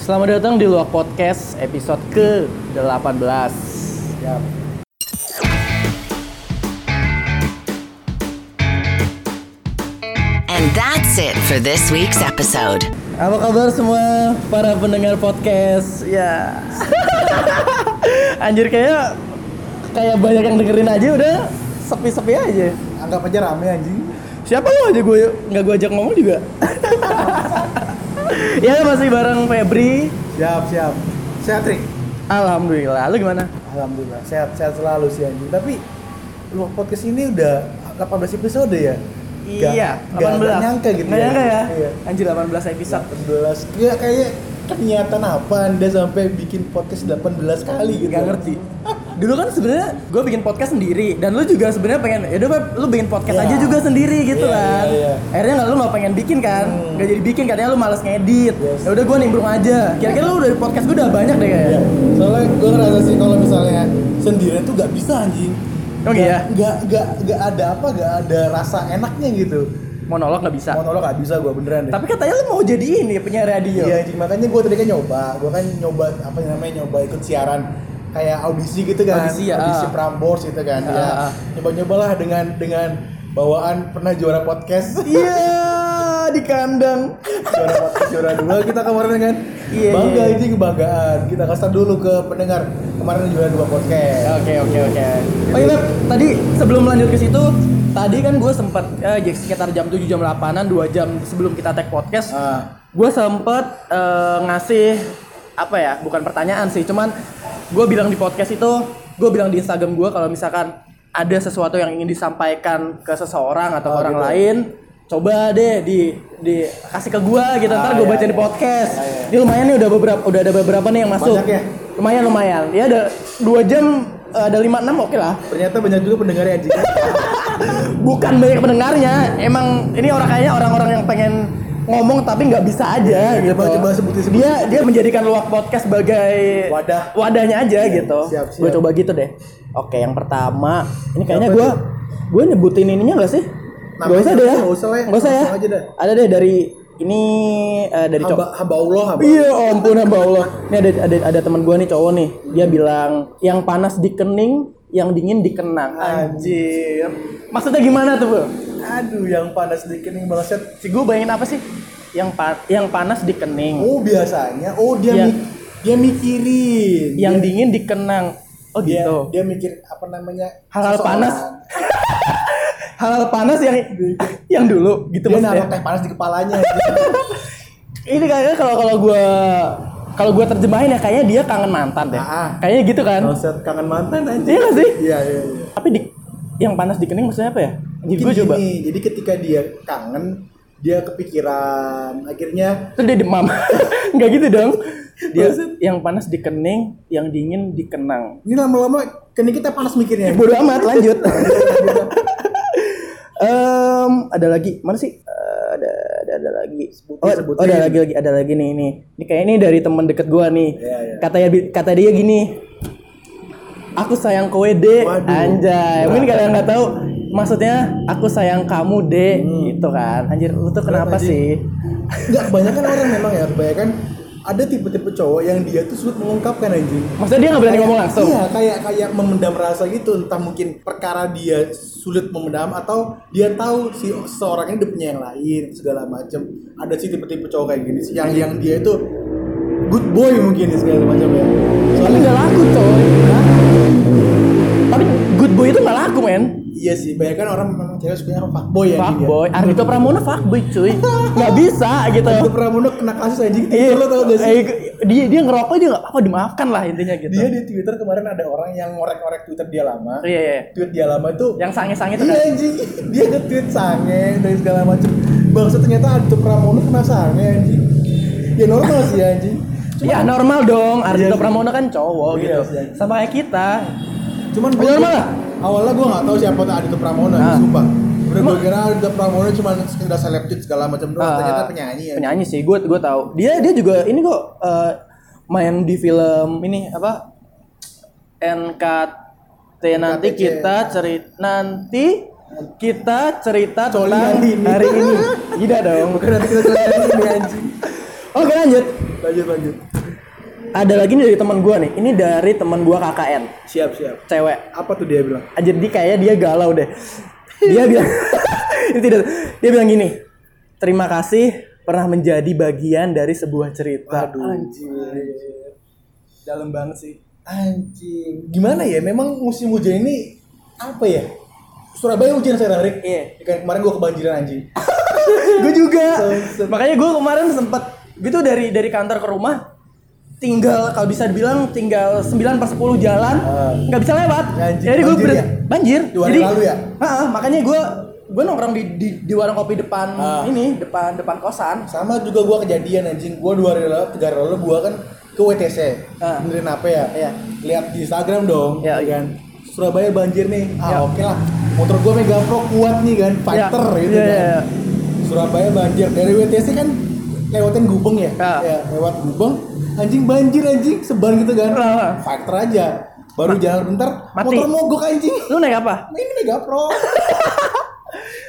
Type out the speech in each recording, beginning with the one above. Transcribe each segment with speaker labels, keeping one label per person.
Speaker 1: Selamat datang di Luak Podcast episode ke-18.
Speaker 2: Ya.
Speaker 3: And that's it for this week's episode.
Speaker 1: Apa kabar semua para pendengar podcast? Ya. Anjir kayak kayak banyak yang dengerin aja udah sepi-sepi aja.
Speaker 2: Anggap aja rame anjing.
Speaker 1: Siapa lu aja gue nggak gue ajak ngomong juga. ya masih bareng Febri.
Speaker 2: Siap, siap. Sehat, Rik?
Speaker 1: Alhamdulillah. Lu gimana?
Speaker 2: Alhamdulillah. Sehat, sehat selalu sih anjing. Tapi lu podcast ini udah 18 episode ya? Gak- Gak, gak nyangka gitu
Speaker 1: Nggak Iya, nyangka ya.
Speaker 2: Iya.
Speaker 1: Anjir 18 episode.
Speaker 2: 18. Ya kayak niatan apa Anda sampai bikin podcast 18 kali gitu.
Speaker 1: Gak ngerti. Dulu kan sebenarnya gue bikin podcast sendiri dan lu juga sebenarnya pengen ya udah Beb, lu bikin podcast
Speaker 2: Iya.
Speaker 1: aja juga sendiri gitu
Speaker 2: Iya,
Speaker 1: kan.
Speaker 2: iya, iya.
Speaker 1: Akhirnya nggak lu nggak pengen bikin kan,
Speaker 2: Hmm.
Speaker 1: nggak jadi bikin katanya lu malas ngedit.
Speaker 2: Yes.
Speaker 1: Ya udah gue nimbrung aja. Kira-kira lu dari podcast gue udah banyak deh kayaknya.
Speaker 2: Ya, soalnya gue ngerasa sih kalau misalnya sendirian tuh gak bisa anjing.
Speaker 1: Oh,
Speaker 2: Gak-
Speaker 1: iya?
Speaker 2: Gak, gak, gak ada apa, gak ada rasa enaknya gitu.
Speaker 1: Monolog nggak bisa.
Speaker 2: Monolog gak bisa gue beneran deh.
Speaker 1: Tapi katanya lu mau jadi ini penyiar radio.
Speaker 2: Iya, anjing. makanya gue tadi kan nyoba, gue kan nyoba apa namanya nyoba ikut siaran kayak audisi gitu kan,
Speaker 1: Audisi, ya, ah.
Speaker 2: Prambors gitu kan,
Speaker 1: Ah,
Speaker 2: ya.
Speaker 1: ah.
Speaker 2: nyoba-nyobalah dengan dengan bawaan pernah juara podcast,
Speaker 1: Iya, di kandang.
Speaker 2: juara podcast juara dua kita kemarin kan,
Speaker 1: Iya,
Speaker 2: bangga
Speaker 1: iya.
Speaker 2: ini kebanggaan, kita kasih tau dulu ke pendengar kemarin juara dua podcast,
Speaker 1: Oke oke oke. Oh iya Beb, tadi sebelum lanjut ke situ, tadi kan gue sempat eh, ya sekitar jam 7 jam 8-an 2 jam sebelum kita tag podcast,
Speaker 2: Ah.
Speaker 1: gue sempet eh, ngasih apa ya, bukan pertanyaan sih, cuman gue bilang di podcast itu, gue bilang di Instagram gue kalau misalkan ada sesuatu yang ingin disampaikan ke seseorang atau
Speaker 2: Oh,
Speaker 1: orang
Speaker 2: gitu.
Speaker 1: lain, coba deh di di kasih ke gue gitu
Speaker 2: Ah,
Speaker 1: ntar gue
Speaker 2: iya,
Speaker 1: baca di
Speaker 2: iya.
Speaker 1: podcast.
Speaker 2: Iya, iya.
Speaker 1: Ini lumayan nih udah beberapa udah ada beberapa nih yang masuk.
Speaker 2: Banyak ya?
Speaker 1: Lumayan lumayan. Ya ada 2 jam eh, ada 5 6 oke lah.
Speaker 2: ternyata banyak juga pendengarnya anjing,
Speaker 1: Bukan banyak pendengarnya, emang ini orang kayaknya orang-orang yang pengen ngomong tapi nggak bisa aja gitu.
Speaker 2: Iya, coba- coba sebutin- sebutin.
Speaker 1: Dia dia menjadikan luak podcast sebagai
Speaker 2: Wadah.
Speaker 1: wadahnya aja
Speaker 2: Iya,
Speaker 1: gitu.
Speaker 2: siap, siap.
Speaker 1: Gue coba gitu deh. Oke, yang pertama, ini kayaknya
Speaker 2: Apa
Speaker 1: gue
Speaker 2: tuh?
Speaker 1: gue nyebutin ininya nggak sih?
Speaker 2: Namanya
Speaker 1: Nggak usah deh ya.
Speaker 2: nggak usah lah ya,
Speaker 1: Nggak usah ya.
Speaker 2: langsung aja deh.
Speaker 1: Ada deh dari ini eh, dari cowok.
Speaker 2: hamba, hamba Allah, hamba.
Speaker 1: Iya ampun hamba Allah. Ini ada ada ada teman gua nih cowok nih. Dia bilang yang panas di kening, yang dingin dikenang. Anjir. Maksudnya gimana tuh, Bu?
Speaker 2: Aduh, yang panas sedikit nih balaset.
Speaker 1: Si gua bayangin apa sih? Yang pa- yang panas di kening,
Speaker 2: Oh biasanya, oh dia
Speaker 1: Iya.
Speaker 2: mik- dia mikirin.
Speaker 1: yang
Speaker 2: Dia-
Speaker 1: dingin dikenang. Oh
Speaker 2: dia
Speaker 1: gitu.
Speaker 2: dia mikir apa namanya
Speaker 1: Hal-hal
Speaker 2: Iya. seseorang.
Speaker 1: panas. Hal panas yang yang dulu gitu
Speaker 2: dia
Speaker 1: maksudnya.
Speaker 2: naruh teh panas di kepalanya gitu kan.
Speaker 1: Ini kayaknya kalau kalau gua kalau gua terjemahin ya kayaknya dia kangen mantan deh.
Speaker 2: Ah.
Speaker 1: Kayaknya gitu kan.
Speaker 2: Bangsat, kangen mantan aja
Speaker 1: Iya nggak sih?
Speaker 2: iya iya iya
Speaker 1: Tapi di yang panas di kening maksudnya apa ya? Jadi
Speaker 2: Mungkin
Speaker 1: gua coba.
Speaker 2: gini, jadi ketika dia kangen dia kepikiran akhirnya
Speaker 1: Terus Kan dia demam. Enggak gitu dong. Dia
Speaker 2: Maksud?
Speaker 1: yang panas di kening, yang dingin dikenang.
Speaker 2: ini lama-lama kini kita panas mikirnya
Speaker 1: Bodoh amat, lanjut. Em, ada lagi. Mana sih? Eh, ada, ada ada lagi.
Speaker 2: Sebutin,
Speaker 1: Oh,
Speaker 2: sebutin.
Speaker 1: oh, ada lagi lagi, ada lagi nih ini. Ini kayak ini dari teman deket gua nih.
Speaker 2: Iya, iya.
Speaker 1: Katanya bi- kata dia gini. Aku sayang kowe, Dek.
Speaker 2: Waduh.
Speaker 1: Anjay. Mungkin kalian nggak tahu maksudnya aku sayang kamu, Dek,
Speaker 2: Hmm.
Speaker 1: gitu kan. Anjir, lu tuh kenapa
Speaker 2: anjing.
Speaker 1: sih?
Speaker 2: nggak kebanyakan orang memang ya kebanyakan ada tipe-tipe cowok yang dia tuh sulit mengungkapkan anjing
Speaker 1: Maksudnya dia nggak berani
Speaker 2: Kayak-
Speaker 1: ngomong langsung.
Speaker 2: Iya, kayak kayak memendam rasa gitu, entah mungkin perkara dia sulit memendam atau dia tahu si seorang ini dia punya yang lain segala macam. Ada sih tipe-tipe cowok kayak gini sih yang yang dia itu good boy mungkin segala macam ya.
Speaker 1: Tapi
Speaker 2: Soalnya
Speaker 1: nggak laku coy Tapi good boy itu nggak laku men
Speaker 2: iya sih, banyak kan orang memang cewek sukanya sama fuckboy ya.
Speaker 1: Fuckboy Ardhito Pramono fuckboy cuy Nggak bisa gitu
Speaker 2: Itu Pramono kena kasus anjing. Iya, lo Iya. tau gak sih?
Speaker 1: Eh, Dia, dia ngerokok dia nggak apa-apa dimaafkan lah intinya gitu
Speaker 2: Dia di Twitter kemarin ada orang yang ngorek-ngorek Twitter dia lama.
Speaker 1: Iya iya
Speaker 2: Tweet dia lama itu
Speaker 1: Yang sange-sange itu
Speaker 2: Iya
Speaker 1: kan
Speaker 2: anjing, dia nge-tweet sange dan segala macem Bangsa ternyata Adito Pramono kena sange anjing Ya normal sih anjing
Speaker 1: Ya normal dong Ardhito
Speaker 2: sih.
Speaker 1: Pramono kan cowok
Speaker 2: Iya
Speaker 1: gitu
Speaker 2: sih, anjing.
Speaker 1: Sama kayak kita Iya.
Speaker 2: Cuman
Speaker 1: Bener malah.
Speaker 2: awalnya gue gak tau siapa tuh Adito Pramono,
Speaker 1: Ah.
Speaker 2: anjing, sumpah Bener gue
Speaker 1: Ma-
Speaker 2: kira Adito Pramono cuma sekedar seleb tweet segala macam doang,
Speaker 1: Ah,
Speaker 2: ternyata penyanyi ya
Speaker 1: Penyanyi sih gue gue tahu. Dia dia juga ini kok eh, main di film ini apa NKT nanti
Speaker 2: NKTC.
Speaker 1: kita cerita nanti kita cerita
Speaker 2: Coli
Speaker 1: tentang
Speaker 2: hari ini.
Speaker 1: hari ini. Tidak dong.
Speaker 2: Bukan nanti kita seleb tweet anjing
Speaker 1: Oke lanjut.
Speaker 2: Lanjut lanjut
Speaker 1: ada lagi nih dari teman gua nih. Ini dari teman gua KKN,
Speaker 2: siap siap
Speaker 1: cewek.
Speaker 2: apa tuh dia bilang
Speaker 1: Anjir, dia kayaknya dia galau deh. Dia bilang ini tidak. Dia bilang gini. Terima kasih pernah menjadi bagian dari sebuah cerita.
Speaker 2: anjir
Speaker 1: dalam banget sih.
Speaker 2: anjir gimana ya memang musim hujan ini apa ya Surabaya hujan saya Rick
Speaker 1: Iya.
Speaker 2: Kan kemarin gua kebanjiran anjing
Speaker 1: gue juga
Speaker 2: Sempet.
Speaker 1: makanya gue kemarin sempet gitu dari dari kantor ke rumah tinggal kalau bisa dibilang tinggal 9 per 10 jalan
Speaker 2: Ah.
Speaker 1: nggak bisa lewat
Speaker 2: Anjing,
Speaker 1: jadi gue
Speaker 2: banjir
Speaker 1: ber-
Speaker 2: ya?
Speaker 1: banjir
Speaker 2: Dua hari
Speaker 1: jadi
Speaker 2: lalu ya?
Speaker 1: Ah, ah, makanya gue gue nongkrong di, di di warung kopi depan
Speaker 2: Ah.
Speaker 1: ini depan depan kosan
Speaker 2: sama juga gua kejadian anjing gua dua hari lalu tiga hari lalu gua kan ke WTC
Speaker 1: Ah.
Speaker 2: benerin apa ya
Speaker 1: Iya.
Speaker 2: lihat di Instagram dong
Speaker 1: Iya,
Speaker 2: ya
Speaker 1: iya.
Speaker 2: kan Surabaya banjir nih ah
Speaker 1: Iya.
Speaker 2: oke lah motor gua megang pro kuat nih kan fighter
Speaker 1: Ya,
Speaker 2: gitu
Speaker 1: ya,
Speaker 2: kan
Speaker 1: ya, ya.
Speaker 2: Surabaya banjir dari WTC kan lewatin Gubeng ya,
Speaker 1: Ya.
Speaker 2: Ya, lewat Gubeng anjing banjir anjing sebar gitu kan
Speaker 1: Ah.
Speaker 2: fighter aja baru jalan bentar
Speaker 1: mati.
Speaker 2: motor mogok anjing
Speaker 1: lu naik apa
Speaker 2: Nah, ini mega pro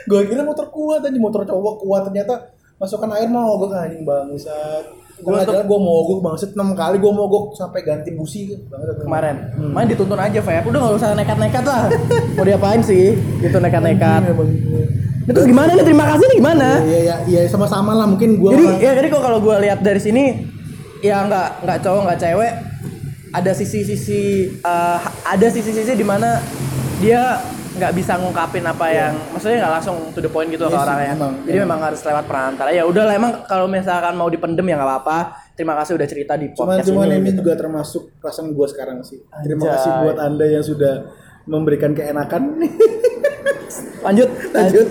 Speaker 2: gue kira motor kuat aja motor cowok kuat ternyata masukkan air mau gue anjing bangsat gue
Speaker 1: Gua tuh-
Speaker 2: jalan gue mogok bangsat enam kali gue mogok sampai ganti busi bangsat Hmm.
Speaker 1: kemarin main dituntun aja Feb udah nggak usah nekat-nekat lah mau diapain sih gitu nekat-nekat Nah, terus gimana nih terima kasih nih gimana
Speaker 2: iya iya iya sama-sama lah mungkin gue
Speaker 1: jadi ya jadi kok kalau gue lihat dari sini ya nggak nggak cowok nggak cewek ada sisi-sisi eh, ada sisi-sisi di mana dia nggak bisa ngungkapin apa yang maksudnya nggak langsung to the point gitu ke
Speaker 2: Iya sih,
Speaker 1: orangnya
Speaker 2: emang,
Speaker 1: jadi
Speaker 2: emang.
Speaker 1: memang harus lewat perantara ya udahlah emang kalau misalkan mau dipendem ya nggak apa-apa terima kasih udah cerita di
Speaker 2: cuman
Speaker 1: podcast
Speaker 2: cuman
Speaker 1: ini
Speaker 2: ini
Speaker 1: gitu.
Speaker 2: juga termasuk perasaan gue sekarang sih terima
Speaker 1: Anjay.
Speaker 2: kasih buat anda yang sudah memberikan keenakan
Speaker 1: lanjut
Speaker 2: lanjut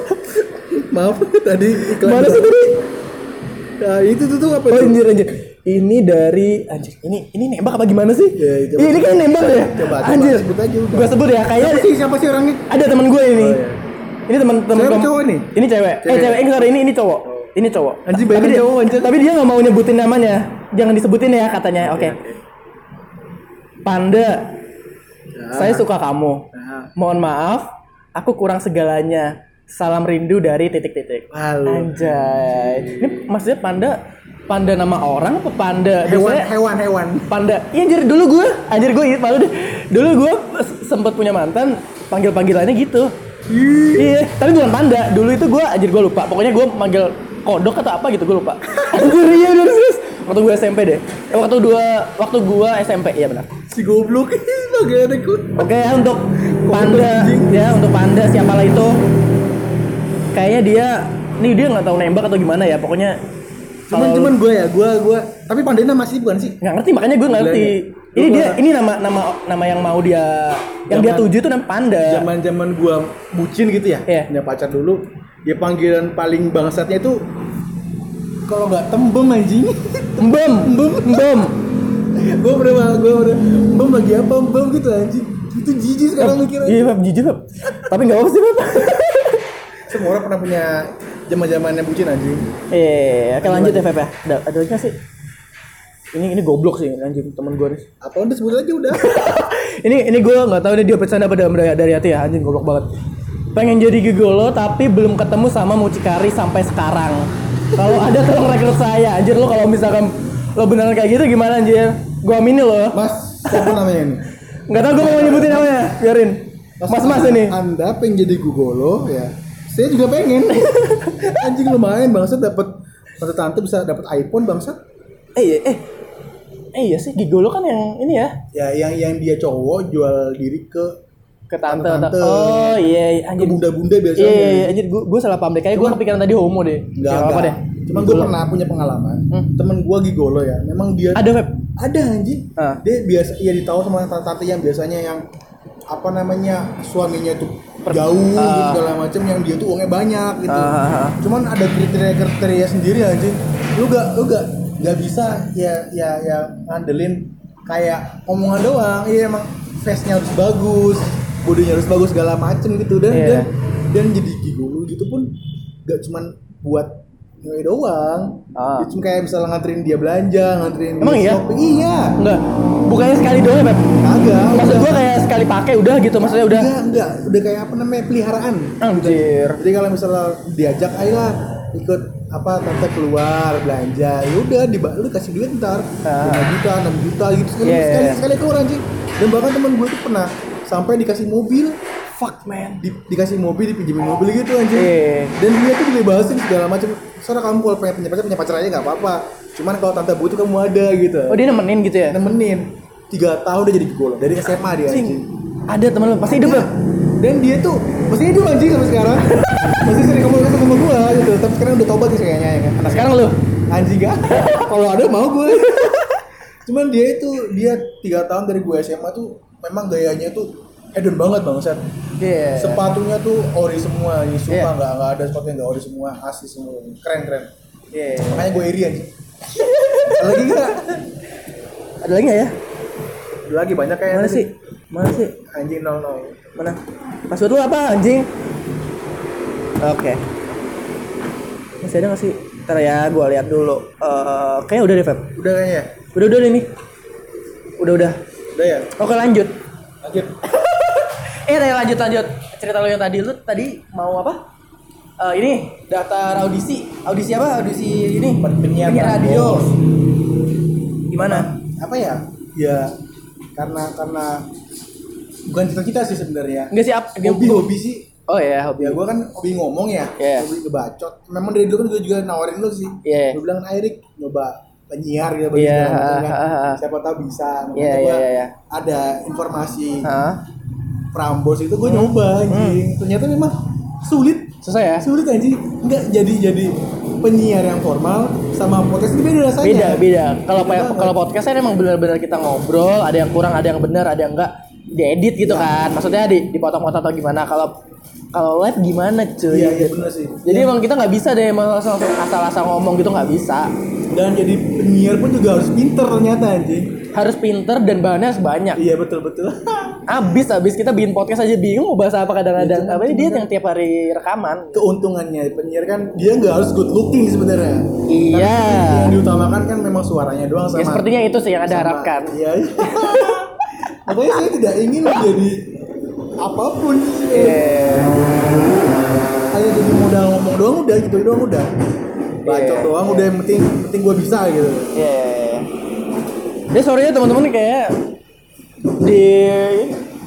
Speaker 2: maaf tadi iklan
Speaker 1: Mana sih tadi?
Speaker 2: Nah, itu tuh, tuh apa
Speaker 1: Oh,
Speaker 2: tuh?
Speaker 1: anjir anjir. Ini dari anjir. Ini ini nembak apa gimana sih?
Speaker 2: Ya, ya, coba.
Speaker 1: ini kan nembak ya?
Speaker 2: Coba, coba,
Speaker 1: anjir.
Speaker 2: sebut aja udah.
Speaker 1: Gua sebut ya kayaknya
Speaker 2: Siapa sih siapa sih orangnya
Speaker 1: ada teman gue ini.
Speaker 2: Oh, iya.
Speaker 1: Ini teman teman
Speaker 2: Cewek
Speaker 1: gua-
Speaker 2: cowok nih?
Speaker 1: Ini cewek. Eh
Speaker 2: Cewek.
Speaker 1: cewek ini sorry ini ini cowok. Ini cowok.
Speaker 2: Anjing,
Speaker 1: Tapi
Speaker 2: banyak
Speaker 1: dia-
Speaker 2: cowok, anjir.
Speaker 1: Tapi dia nggak mau nyebutin namanya. Jangan disebutin ya katanya. Oke.
Speaker 2: Ya.
Speaker 1: Panda. Saya suka kamu.
Speaker 2: Nah.
Speaker 1: Mohon maaf, aku kurang segalanya. Salam rindu dari titik-titik.
Speaker 2: Halo.
Speaker 1: Anjay. Ini maksudnya panda panda nama orang apa panda?
Speaker 2: hewan
Speaker 1: Biasanya-
Speaker 2: hewan hewan
Speaker 1: Panda. Iya anjir dulu gue, anjir gue inget malu deh. Dulu gue s- sempet punya mantan, panggil-panggilannya gitu. Iya, tapi bukan panda. Dulu itu gue anjir gue lupa. Pokoknya gue manggil kodok atau apa gitu gue lupa. Anjir iya bener serius. Waktu gue SMP deh. Eh, waktu dua waktu gue SMP iya benar.
Speaker 2: si goblok sebagai rekut
Speaker 1: Oke ya untuk panda
Speaker 2: anjing.
Speaker 1: ya untuk panda siapalah itu. Kayaknya dia nih dia nggak tahu nembak atau gimana ya. Pokoknya
Speaker 2: cuman
Speaker 1: kalau-
Speaker 2: cuman gue ya gue gue tapi pandainya masih bukan sih
Speaker 1: nggak ngerti makanya gue nggak ngerti
Speaker 2: Gila ya.
Speaker 1: ini
Speaker 2: Lu
Speaker 1: dia
Speaker 2: gua-
Speaker 1: ini nama nama nama yang mau dia yang dia
Speaker 2: Zaman-
Speaker 1: tuju itu nama panda
Speaker 2: zaman zaman gue bucin gitu ya
Speaker 1: Iya.
Speaker 2: punya pacar dulu dia panggilan paling bangsatnya itu kalau nggak tembem anjing
Speaker 1: mbem
Speaker 2: Mbem.
Speaker 1: mbem
Speaker 2: gue pernah gue pernah mbem bagi apa mbem gitu anjing itu jijik sekarang mikirnya
Speaker 1: iya bab jijik bab tapi nggak apa sih bab
Speaker 2: semua orang pernah punya zaman zamannya bucin anjing
Speaker 1: eh oke lanjut ya Feb ya ada ada lagi nggak sih ini ini goblok sih anjing temen gue nih
Speaker 2: apa udah sebut aja udah
Speaker 1: ini ini gue nggak tahu nih dia pesan apa dalam dari, dari hati ya anjing goblok banget pengen jadi gigolo tapi belum ketemu sama mucikari sampai sekarang kalau ada tolong rekrut saya anjir lo kalau misalkan lo beneran kayak gitu gimana anjir gue aminin lo
Speaker 2: mas siapa namanya ini
Speaker 1: Nggak tahu gue mau nyebutin namanya, biarin. Mas-mas ini.
Speaker 2: Anda pengen jadi gugolo ya. Saya juga pengen. Anjing lumayan bangsat dapat tante tante bisa dapat iPhone bangsat.
Speaker 1: Eh, iya, eh. Eh iya sih, gigolo kan yang ini ya.
Speaker 2: Ya yang yang dia cowok jual diri ke
Speaker 1: Ke tante.
Speaker 2: Tante-tante.
Speaker 1: Oh iya, iya.
Speaker 2: ke
Speaker 1: anjir.
Speaker 2: bunda-bunda
Speaker 1: Iya,
Speaker 2: biasanya.
Speaker 1: iya, iya, anjir. Gue gue salah paham deh. Kayaknya gue kepikiran tadi homo deh.
Speaker 2: Enggak,
Speaker 1: Nggak apa-apa
Speaker 2: enggak.
Speaker 1: deh.
Speaker 2: Cuman gue
Speaker 1: Gigolo.
Speaker 2: pernah punya pengalaman.
Speaker 1: Hmm.
Speaker 2: Temen gue gigolo ya. Memang dia
Speaker 1: Ada web.
Speaker 2: ada anjing.
Speaker 1: Ah.
Speaker 2: Dia biasa ya ditahu sama tante-tante yang biasanya yang apa namanya suaminya tuh jauh gitu,
Speaker 1: Ah.
Speaker 2: segala macam yang dia tuh uangnya banyak gitu.
Speaker 1: Ah.
Speaker 2: Cuman ada kriteria-kriteria sendiri anjing. Lu gak lu gak gak bisa ya ya ya ngandelin kayak omongan doang. Iya emang face-nya harus bagus, bodinya harus bagus segala macem gitu dan
Speaker 1: Iya.
Speaker 2: dan dan jadi gigolo gitu pun gak cuman buat ngewe doang.
Speaker 1: Ah.
Speaker 2: Ya, cuma kayak misalnya nganterin dia belanja, nganterin
Speaker 1: Emang
Speaker 2: dia
Speaker 1: iya?
Speaker 2: shopping. Iya.
Speaker 1: Enggak. Bukannya sekali doang, Beb.
Speaker 2: Kagak.
Speaker 1: Maksud
Speaker 2: udah.
Speaker 1: gue kayak sekali pakai udah gitu, maksudnya udah
Speaker 2: Enggak, enggak. Udah kayak apa namanya peliharaan.
Speaker 1: anjir.
Speaker 2: Jadi kalau misalnya diajak ayolah ikut apa tante keluar belanja ya udah di lu kasih duit ntar
Speaker 1: Ah. Iya,
Speaker 2: lima juta enam juta gitu sekali
Speaker 1: Yeah.
Speaker 2: sekali sekali keluar anjing dan bahkan teman gue tuh pernah sampai dikasih mobil fuck man di, dikasih mobil dipinjemin mobil gitu anjing
Speaker 1: Iya.
Speaker 2: dan dia tuh dibebasin segala macam soalnya kamu kalau pengen punya pacar punya pacar aja nggak apa-apa cuman kalau tante butuh kamu ada gitu
Speaker 1: Oh dia nemenin gitu ya?
Speaker 2: nemenin tiga tahun udah jadi gigolo dari SMA dia
Speaker 1: Anjing.
Speaker 2: anjing
Speaker 1: Ada temen lu, pasti hidup lu.
Speaker 2: dan dia tuh masih hidup anjing sampai sekarang masih sering komunikasi sama gua gitu tapi sekarang udah tobat sih kayaknya ya kan
Speaker 1: Nah sekarang lu.
Speaker 2: anjing gak kalau ada mau gue cuman dia itu dia tiga tahun dari gue SMA tuh memang gayanya tuh hedon banget bangsat
Speaker 1: Iya.
Speaker 2: sepatunya tuh ori semua ini sumpah
Speaker 1: Iya.
Speaker 2: nggak nggak ada sepatu yang nggak ori semua asli semua keren keren
Speaker 1: Iya.
Speaker 2: makanya gue iri anjing Ada lagi gak?
Speaker 1: Ada lagi nggak ya?
Speaker 2: Ada lagi banyak kayak
Speaker 1: Mana sih? Mana sih?
Speaker 2: anjing nol nol
Speaker 1: Mana? Password lu apa anjing? Oke. Masih ada nggak sih? Ntar ya, gua lihat dulu. Eh, kayaknya udah deh, Feb.
Speaker 2: udah kayaknya ya?
Speaker 1: Udah udah deh nih. Udah udah.
Speaker 2: udah ya
Speaker 1: Oke lanjut.
Speaker 2: lanjut
Speaker 1: Eh, tadi lanjut lanjut cerita lu yang tadi lu tadi mau apa? Eh, ini daftar audisi. Audisi apa? Audisi ini
Speaker 2: Penyiar
Speaker 1: radio.
Speaker 2: Prambors.
Speaker 1: Gimana?
Speaker 2: apa ya ya karena karena bukan cita-cita sih sebenarnya
Speaker 1: Enggak sih apa?
Speaker 2: hobi hobi sih
Speaker 1: Oh ya, hobi.
Speaker 2: ya gue kan hobi ngomong ya
Speaker 1: Iya.
Speaker 2: hobi ngebacot memang dari dulu kan gue juga nawarin lu sih
Speaker 1: Iya.
Speaker 2: gue bilang Airik nyoba penyiar gitu
Speaker 1: Iya,
Speaker 2: segala macam kan.
Speaker 1: ah, ah, ah.
Speaker 2: siapa tahu bisa Makanya
Speaker 1: Iya, iya,
Speaker 2: gua
Speaker 1: iya, iya.
Speaker 2: ada informasi
Speaker 1: Hah?
Speaker 2: Prambors itu
Speaker 1: Hmm.
Speaker 2: gue nyoba anjing ternyata memang sulit
Speaker 1: Susah ya?
Speaker 2: sulit anjing nggak jadi jadi penyiar yang formal sama podcast itu beda rasanya
Speaker 1: beda beda kalau
Speaker 2: Beda
Speaker 1: kayak
Speaker 2: banget.
Speaker 1: kalau podcast kan emang benar-benar kita ngobrol ada yang kurang ada yang benar ada yang enggak diedit gitu
Speaker 2: Iya.
Speaker 1: kan maksudnya di dipotong-potong atau gimana kalau kalau live gimana cuy
Speaker 2: iya iya benar sih
Speaker 1: jadi emang kita nggak bisa deh emang langsung langsung asal-asal ngomong gitu nggak bisa
Speaker 2: dan jadi penyiar pun juga harus pinter ternyata anjing
Speaker 1: harus pinter dan bahannya harus banyak
Speaker 2: iya betul betul
Speaker 1: abis abis kita bikin podcast aja bingung mau bahas apa kadang-kadang
Speaker 2: Ya, cuman-
Speaker 1: apa dia
Speaker 2: cuman-
Speaker 1: yang tiap hari rekaman
Speaker 2: keuntungannya penyiar kan dia nggak harus good looking sebenarnya
Speaker 1: Iya.
Speaker 2: Tapi yang diutamakan kan memang suaranya doang sama
Speaker 1: ya sepertinya itu sih yang ada
Speaker 2: sama-
Speaker 1: harapkan
Speaker 2: iya iya. makanya saya tidak ingin menjadi apapun
Speaker 1: Iya.
Speaker 2: hanya jadi modal ngomong doang udah gitu doang udah bacot
Speaker 1: Iya.
Speaker 2: doang udah yang penting penting gue bisa gitu
Speaker 1: Iya. Jadi sorry ya teman-teman kayak di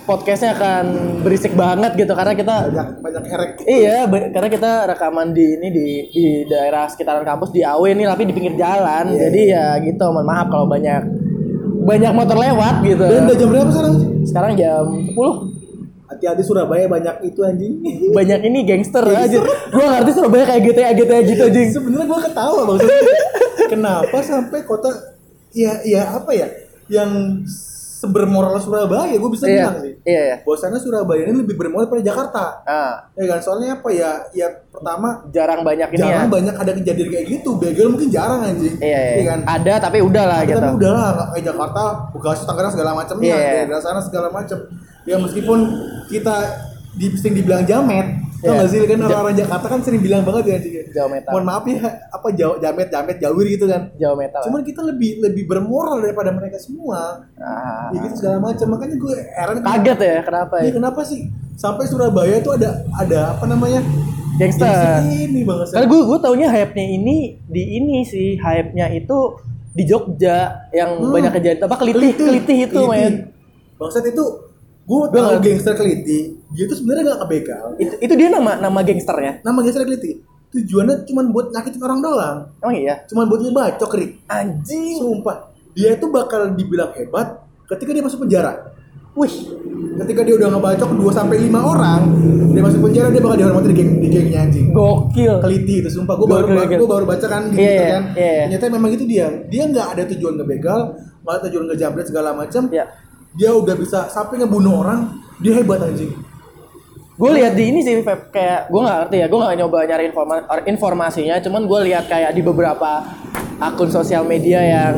Speaker 1: podcastnya akan berisik banget gitu karena kita
Speaker 2: banyak banyak erek
Speaker 1: iya be- karena kita rekaman di ini di di daerah sekitaran kampus di AW nih tapi di pinggir jalan.
Speaker 2: Iya.
Speaker 1: Jadi ya gitu mohon maaf kalau banyak banyak motor lewat gitu.
Speaker 2: dan udah jam berapa sekarang
Speaker 1: Sekarang jam 10
Speaker 2: hati-hati Surabaya banyak itu anjing
Speaker 1: banyak ini gangster aja. Gua ngerti Surabaya kayak GTA GTA gitu anjing.
Speaker 2: sebenarnya gue ketawa maksudnya kenapa sampai kota ya ya apa ya yang sebermoral Surabaya gue bisa
Speaker 1: Iya.
Speaker 2: bilang sih
Speaker 1: Iya ya.
Speaker 2: bahwasannya Surabaya ini lebih bermoral daripada Jakarta
Speaker 1: Ah,
Speaker 2: ya kan soalnya apa ya ya pertama
Speaker 1: jarang banyak ini
Speaker 2: jarang
Speaker 1: ya.
Speaker 2: banyak ada kejadian kayak gitu begal mungkin jarang anjing
Speaker 1: Iya, iya.
Speaker 2: kan
Speaker 1: Ada tapi udah lah gitu.
Speaker 2: tapi udahlah nggak kayak Jakarta Bekasi Tangerang segala macamnya
Speaker 1: Iya.
Speaker 2: daerah sana segala macam ya meskipun kita di sering dibilang jamet tau
Speaker 1: Iya.
Speaker 2: nggak sih kan orang-orang Jakarta kan sering bilang banget ya anjing.
Speaker 1: Jametan.
Speaker 2: mohon maaf ya apa jau- jamet jamet jawir gitu kan
Speaker 1: Jawa metal. ya.
Speaker 2: cuman kita lebih lebih bermoral daripada mereka semua
Speaker 1: Ah.
Speaker 2: ya gitu segala macam makanya gue heran
Speaker 1: Kaget ya kenapa
Speaker 2: Iya,
Speaker 1: ya?
Speaker 2: kenapa sih sampai Surabaya tuh ada ada apa namanya
Speaker 1: Gangster.
Speaker 2: Gangster ini banget
Speaker 1: Karena gue gue taunya hype-nya ini di ini sih hype-nya itu di Jogja yang
Speaker 2: Hmm.
Speaker 1: banyak kejadian apa kelitih kelitih, itu men.
Speaker 2: bangsat itu gue
Speaker 1: Gua
Speaker 2: tau
Speaker 1: nggak-
Speaker 2: gangster keliti dia tuh sebenarnya gak kebegal
Speaker 1: Itu, itu dia nama nama ya? gangsternya.
Speaker 2: nama gangster keliti tujuannya cuma buat nyakitin orang doang
Speaker 1: Emang iya.
Speaker 2: cuma buat ngebacok Rik
Speaker 1: Anjing.
Speaker 2: sumpah dia itu bakal dibilang hebat ketika dia masuk penjara
Speaker 1: Wih.
Speaker 2: ketika dia udah ngebacok 2 sampai 5 orang dia masuk penjara dia bakal dihormati di geng di gengnya anjing
Speaker 1: Gokil.
Speaker 2: keliti itu sumpah gue baru
Speaker 1: Gokil, gokil.
Speaker 2: gue baru baca kan
Speaker 1: Iya,
Speaker 2: di Twitter
Speaker 1: iya,
Speaker 2: kan
Speaker 1: iya, iya.
Speaker 2: ternyata memang itu dia dia nggak ada tujuan ngebegal nggak ada tujuan ngejamret segala macam
Speaker 1: Iya.
Speaker 2: dia udah bisa sampai ngebunuh orang dia hebat anjing
Speaker 1: Gue lihat di ini sih Feb, kayak gue nggak ngerti ya, gue nggak nyoba nyari informa- or- informasinya, cuman gue lihat kayak di beberapa akun sosial media yang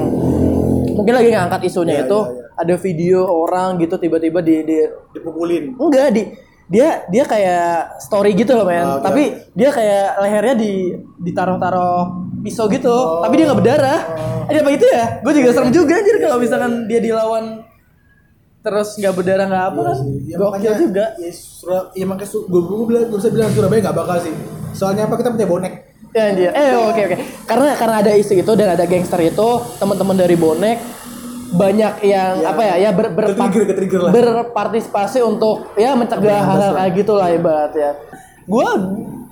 Speaker 1: mungkin lagi ngangkat isunya
Speaker 2: Iya,
Speaker 1: itu
Speaker 2: iya, iya.
Speaker 1: ada video orang gitu tiba-tiba di, di
Speaker 2: dipukulin
Speaker 1: Enggak di dia dia kayak story gitu loh men.
Speaker 2: Ah, oke,
Speaker 1: tapi dia kayak lehernya di ditaruh-taruh pisau gitu. Tapi dia nggak berdarah.
Speaker 2: Oh.
Speaker 1: Ada apa itu ya? Gue juga
Speaker 2: Iya,
Speaker 1: serem juga anjir kalau misalkan dia dilawan terus nggak berdarah nggak apa kan.
Speaker 2: ya,
Speaker 1: Gokil
Speaker 2: makanya- iya,
Speaker 1: juga.
Speaker 2: ya, Sura, ya makanya gue bilang gue bisa bilang Surabaya nggak bakal sih soalnya apa kita punya bonek
Speaker 1: Ya anjir. Eh oke oke. Karena karena ada isu itu dan ada gangster itu, teman-teman dari bonek banyak yang
Speaker 2: Ya.
Speaker 1: apa ya ya ber, berpa-
Speaker 2: Ketrigger- ketrigger lah.
Speaker 1: berpartisipasi untuk ya mencegah hal-hal kayak gitu lah ibarat ya. Gue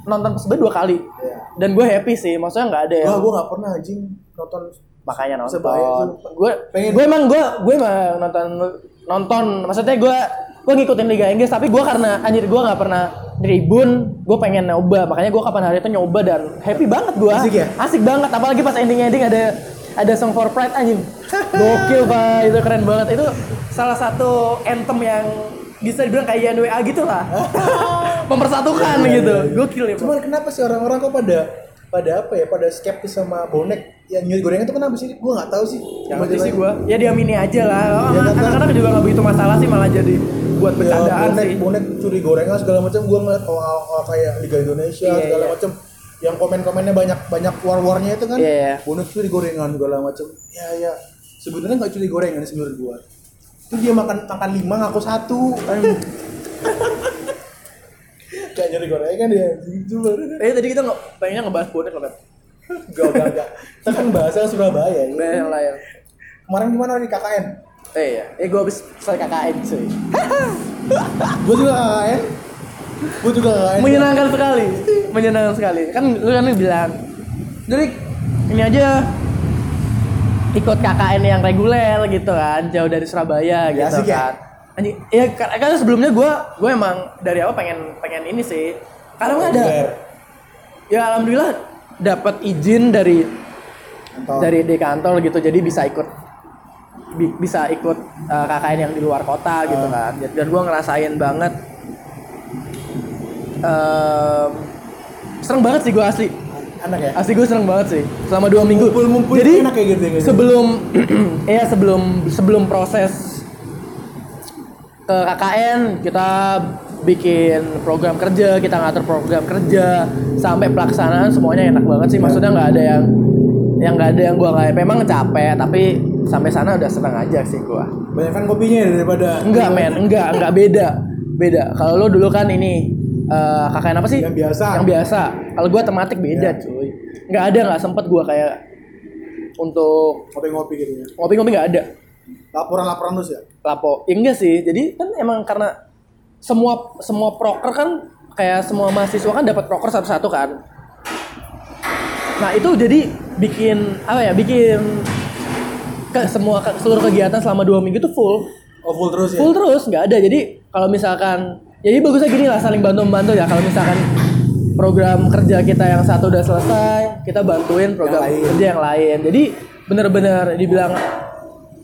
Speaker 1: nonton Persebaya dua kali
Speaker 2: Ya.
Speaker 1: dan gue happy sih. Maksudnya nggak ada ya.
Speaker 2: Wah, gue gak pernah anjing nonton
Speaker 1: makanya nonton.
Speaker 2: Persebaya tuh.
Speaker 1: Gue
Speaker 2: Pengen.
Speaker 1: gue emang gue gue emang nonton nonton. Maksudnya gue gue ngikutin Liga Inggris tapi gue karena anjir gue nggak pernah tribun gue pengen nyoba makanya gue kapan hari itu nyoba dan happy banget gue
Speaker 2: Asik ya?
Speaker 1: asik banget apalagi pas ending ending ada ada song for pride anjing gokil pak itu keren banget itu salah satu anthem yang bisa dibilang kayak YNWA gitu lah mempersatukan
Speaker 2: Iya,
Speaker 1: gitu gokil ya Pak.
Speaker 2: Cuman kenapa sih orang-orang kok pada pada apa ya pada skeptis sama bonek yang nyuri gorengan itu kan kenapa sih gue nggak tahu sih
Speaker 1: Yang
Speaker 2: Cuma
Speaker 1: penting sih
Speaker 2: jelas-
Speaker 1: gue ya diamini aja lah. Oh,
Speaker 2: Ya, kan,
Speaker 1: Anak-anak juga nggak begitu masalah sih malah jadi buat
Speaker 2: ya,
Speaker 1: bercandaan
Speaker 2: bonek,
Speaker 1: Iya, sih.
Speaker 2: bonek curi gorengan segala macam gue ngeliat oh, oh, oh, kayak Liga Indonesia
Speaker 1: Iya,
Speaker 2: segala
Speaker 1: iya.
Speaker 2: macam yang komen-komennya banyak banyak war-warnya itu kan
Speaker 1: Iya, iya.
Speaker 2: bonek curi gorengan segala macam ya ya sebenarnya nggak curi gorengan sih menurut gue itu dia makan makan lima ngaku satu kayak nyuri gorengan ya gitu bener.
Speaker 1: Eh tadi kita nggak pengennya ngebahas bonek loh kan.
Speaker 2: gak gak gak kita kan bahasa Surabaya ya.
Speaker 1: Yang lain.
Speaker 2: kemarin gimana di KKN
Speaker 1: Eh iya. Eh gue habis soal KKN cuy.
Speaker 2: gue juga KKN gue juga KKN
Speaker 1: Menyenangkan sekali. Menyenangkan sekali. Kan lu kan bilang, Drik, ini aja ikut KKN yang reguler gitu kan, jauh dari Surabaya
Speaker 2: Ya,
Speaker 1: gitu
Speaker 2: asik ya?
Speaker 1: kan. Anjing, ya karena kan sebelumnya gue gue emang dari awal pengen pengen ini sih. Karena nggak ada ya alhamdulillah dapat izin dari
Speaker 2: Mantap.
Speaker 1: dari di kantor gitu jadi bisa ikut bi- bisa ikut uh, KKN yang di luar kota gitu kan dan gue ngerasain banget Ehm, serem banget sih gue asli
Speaker 2: anak ya
Speaker 1: asli gue serem banget sih selama dua minggu
Speaker 2: Ngumpul-ngumpul
Speaker 1: jadi
Speaker 2: enak kayak gitu ya, guys.
Speaker 1: sebelum ya sebelum sebelum proses ke KKN kita bikin program kerja kita ngatur program kerja sampai pelaksanaan semuanya enak banget sih
Speaker 2: Iya.
Speaker 1: maksudnya nggak ada yang yang nggak ada yang gua nggak memang capek tapi sampai sana udah senang aja sih gua
Speaker 2: banyak kan kopinya ya daripada
Speaker 1: enggak men enggak enggak beda beda kalau lo dulu kan ini eh, KKN apa sih
Speaker 2: Yang biasa.
Speaker 1: yang biasa kalau gua tematik beda cuy nggak ada nggak sempet gua kayak untuk
Speaker 2: ngopi-ngopi gitu ya
Speaker 1: ngopi-ngopi nggak ada
Speaker 2: laporan-laporan terus ya
Speaker 1: lapo ya enggak sih jadi kan emang karena semua semua proker kan kayak semua mahasiswa kan dapat proker satu-satu kan nah itu jadi bikin apa ya bikin ke semua ke- seluruh kegiatan selama dua minggu tuh full
Speaker 2: oh full terus ya
Speaker 1: full terus nggak ada jadi kalau misalkan jadi bagusnya gini lah saling bantu membantu ya kalau misalkan program kerja kita yang satu udah selesai kita bantuin program
Speaker 2: Yang lain.
Speaker 1: kerja yang lain jadi bener-bener dibilang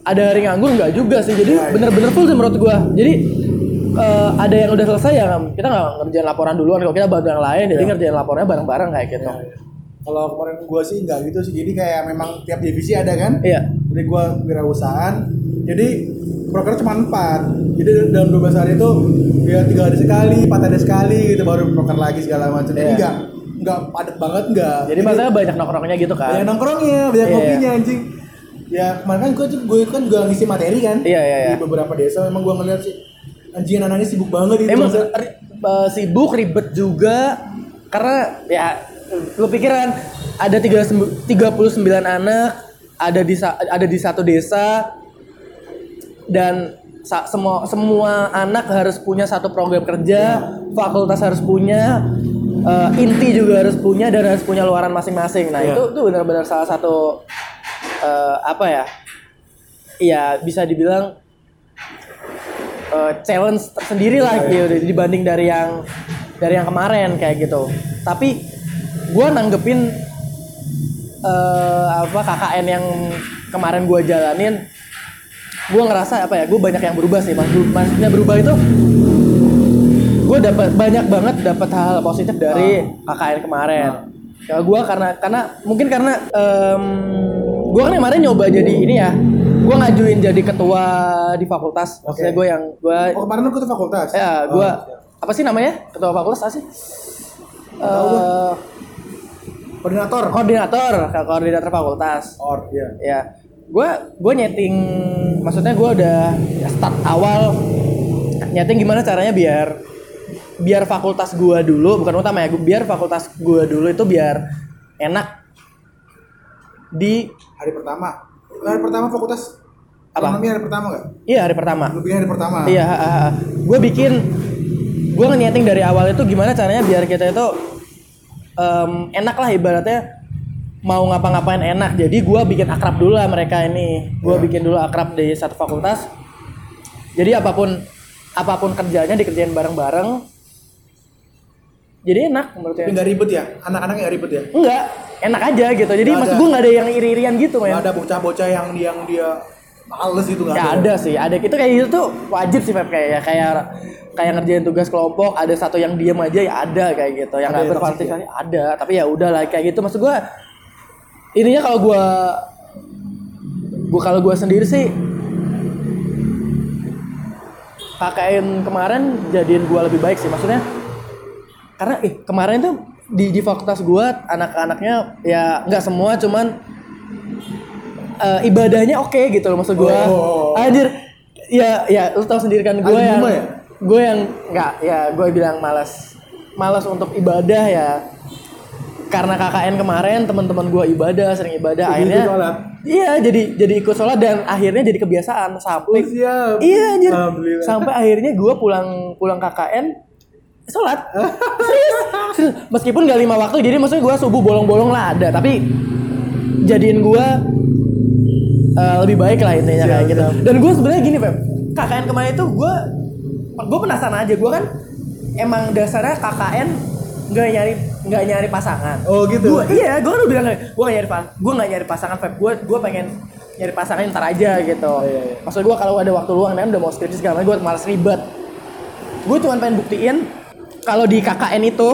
Speaker 1: ada hari nganggur nggak juga sih
Speaker 2: Iya.
Speaker 1: jadi bener-bener full sih menurut gua jadi eh, ada yang udah selesai ya kita nggak ngerjain laporan duluan kalau kita bantu yang lain jadi
Speaker 2: Iya.
Speaker 1: ngerjain laporannya bareng-bareng kayak gitu
Speaker 2: kalau kemarin gua sih nggak gitu sih jadi kayak memang tiap divisi ada kan
Speaker 1: iya
Speaker 2: jadi gua wirausahaan jadi proker cuma empat jadi dalam 12 hari itu ya tiga hari sekali empat hari sekali gitu baru proker lagi segala macam
Speaker 1: Iya.
Speaker 2: jadi nggak nggak padat banget nggak
Speaker 1: jadi maksudnya banyak nongkrongnya gitu
Speaker 2: banyak
Speaker 1: kan
Speaker 2: nongkrongnya banyak
Speaker 1: Iya.
Speaker 2: kopinya anjing ya kemarin kan gue gue kan juga ngisi materi kan
Speaker 1: Iya, iya, iya.
Speaker 2: di beberapa desa emang gua ngeliat sih anjing anaknya sibuk banget itu
Speaker 1: Emang ri- eh, sibuk ribet juga karena ya lu pikiran ada 39 39 anak ada di sa- ada di satu desa dan sa- semua semua anak harus punya satu program kerja, fakultas harus punya, eh, inti juga harus punya dan harus punya luaran masing-masing. Nah,
Speaker 2: Iya.
Speaker 1: itu itu benar-benar salah satu eh, apa ya? Iya, bisa dibilang eh, challenge tersendiri lah gitu dibanding dari yang dari yang kemarin kayak gitu. Tapi gua nanggepin eh, apa KKN yang kemarin gua jalanin gue ngerasa apa ya gue banyak yang berubah sih Mas- maksudnya berubah itu gue dapat banyak banget dapat hal positif dari KKN kemarin ya gue karena karena mungkin karena gue kan kemarin nyoba jadi ini ya gue ngajuin jadi ketua di fakultas maksudnya gue yang gue
Speaker 2: oh Ah, kemarin lu ke fakultas Oh,
Speaker 1: ya gue apa sih namanya ketua fakultas apa sih Eh,
Speaker 2: koordinator
Speaker 1: koordinator koordinator fakultas
Speaker 2: or ya
Speaker 1: ya gue gue nyeting maksudnya gue udah ya, start awal nyeting gimana caranya biar biar fakultas gue dulu bukan utama ya biar fakultas gue dulu itu biar enak di
Speaker 2: hari pertama hari pertama fakultas
Speaker 1: Apa?
Speaker 2: ekonomi hari pertama nggak
Speaker 1: iya hari pertama
Speaker 2: lebih hari pertama
Speaker 1: Iya, gue bikin gue ngeniatin dari awal itu gimana caranya biar kita itu em, enak lah ibaratnya mau ngapa-ngapain enak. Jadi gue bikin akrab dulu lah mereka ini. Gue
Speaker 2: Iya.
Speaker 1: bikin dulu akrab di satu fakultas. Jadi apapun apapun kerjanya dikerjain bareng-bareng. Jadi enak
Speaker 2: tapi
Speaker 1: menurutnya.
Speaker 2: nggak ribet ya anak-anaknya nggak ribet ya
Speaker 1: Enggak, enak aja gitu. Jadi
Speaker 2: Nggak
Speaker 1: maksud
Speaker 2: ada.
Speaker 1: gue nggak ada yang iri-irian gitu
Speaker 2: nggak
Speaker 1: men.
Speaker 2: ada bocah-bocah yang yang dia males gitu nggak
Speaker 1: Ya ada sih, ada itu kayak itu tuh wajib sih Feb kayak ya, kayak kayak ngerjain tugas kelompok, ada satu yang diem aja ya ada kayak gitu. Yang
Speaker 2: Ada
Speaker 1: nggak
Speaker 2: yang toksik
Speaker 1: berpartisipasi ada, tapi ya udahlah kayak gitu. Maksud gua ininya kalau gua gua kalau gua sendiri sih KKN kemarin jadiin gua lebih baik sih maksudnya karena eh kemarin tuh di di fakultas gua anak-anaknya ya nggak semua cuman eh, ibadahnya oke gitu loh maksud gua
Speaker 2: Oh.
Speaker 1: anjir ya ya lu tau sendiri kan gue
Speaker 2: Ada
Speaker 1: yang
Speaker 2: lima ya?
Speaker 1: gue yang nggak ya gue bilang malas malas untuk ibadah ya karena KKN kemarin teman-teman gua ibadah sering ibadah
Speaker 2: Jadi
Speaker 1: akhirnya
Speaker 2: ikut sholat?
Speaker 1: iya jadi jadi ikut sholat dan akhirnya jadi kebiasaan sampai
Speaker 2: Oh, siap.
Speaker 1: iya anjir
Speaker 2: Alhamdulillah.
Speaker 1: sampai akhirnya gua pulang pulang KKN sholat serius, serius. meskipun gak lima waktu jadi maksudnya gua subuh bolong-bolong lah ada tapi jadiin gua eh, lebih baik lah intinya kayak gitu dan gue sebenarnya gini Feb KKN kemarin itu gue gue penasaran aja gue kan emang dasarnya KKN nggak nyari nggak nyari pasangan
Speaker 2: Oh, gitu?
Speaker 1: Gua- iya gue kan udah bilang gue nggak nyari gue nggak nyari pasangan Feb gue gue pengen nyari pasangan ntar aja gitu
Speaker 2: iya, iya.
Speaker 1: maksud gue kalau ada waktu luang dan udah mau skripsi segala macam gue malas ribet gue cuma pengen buktiin kalau di KKN itu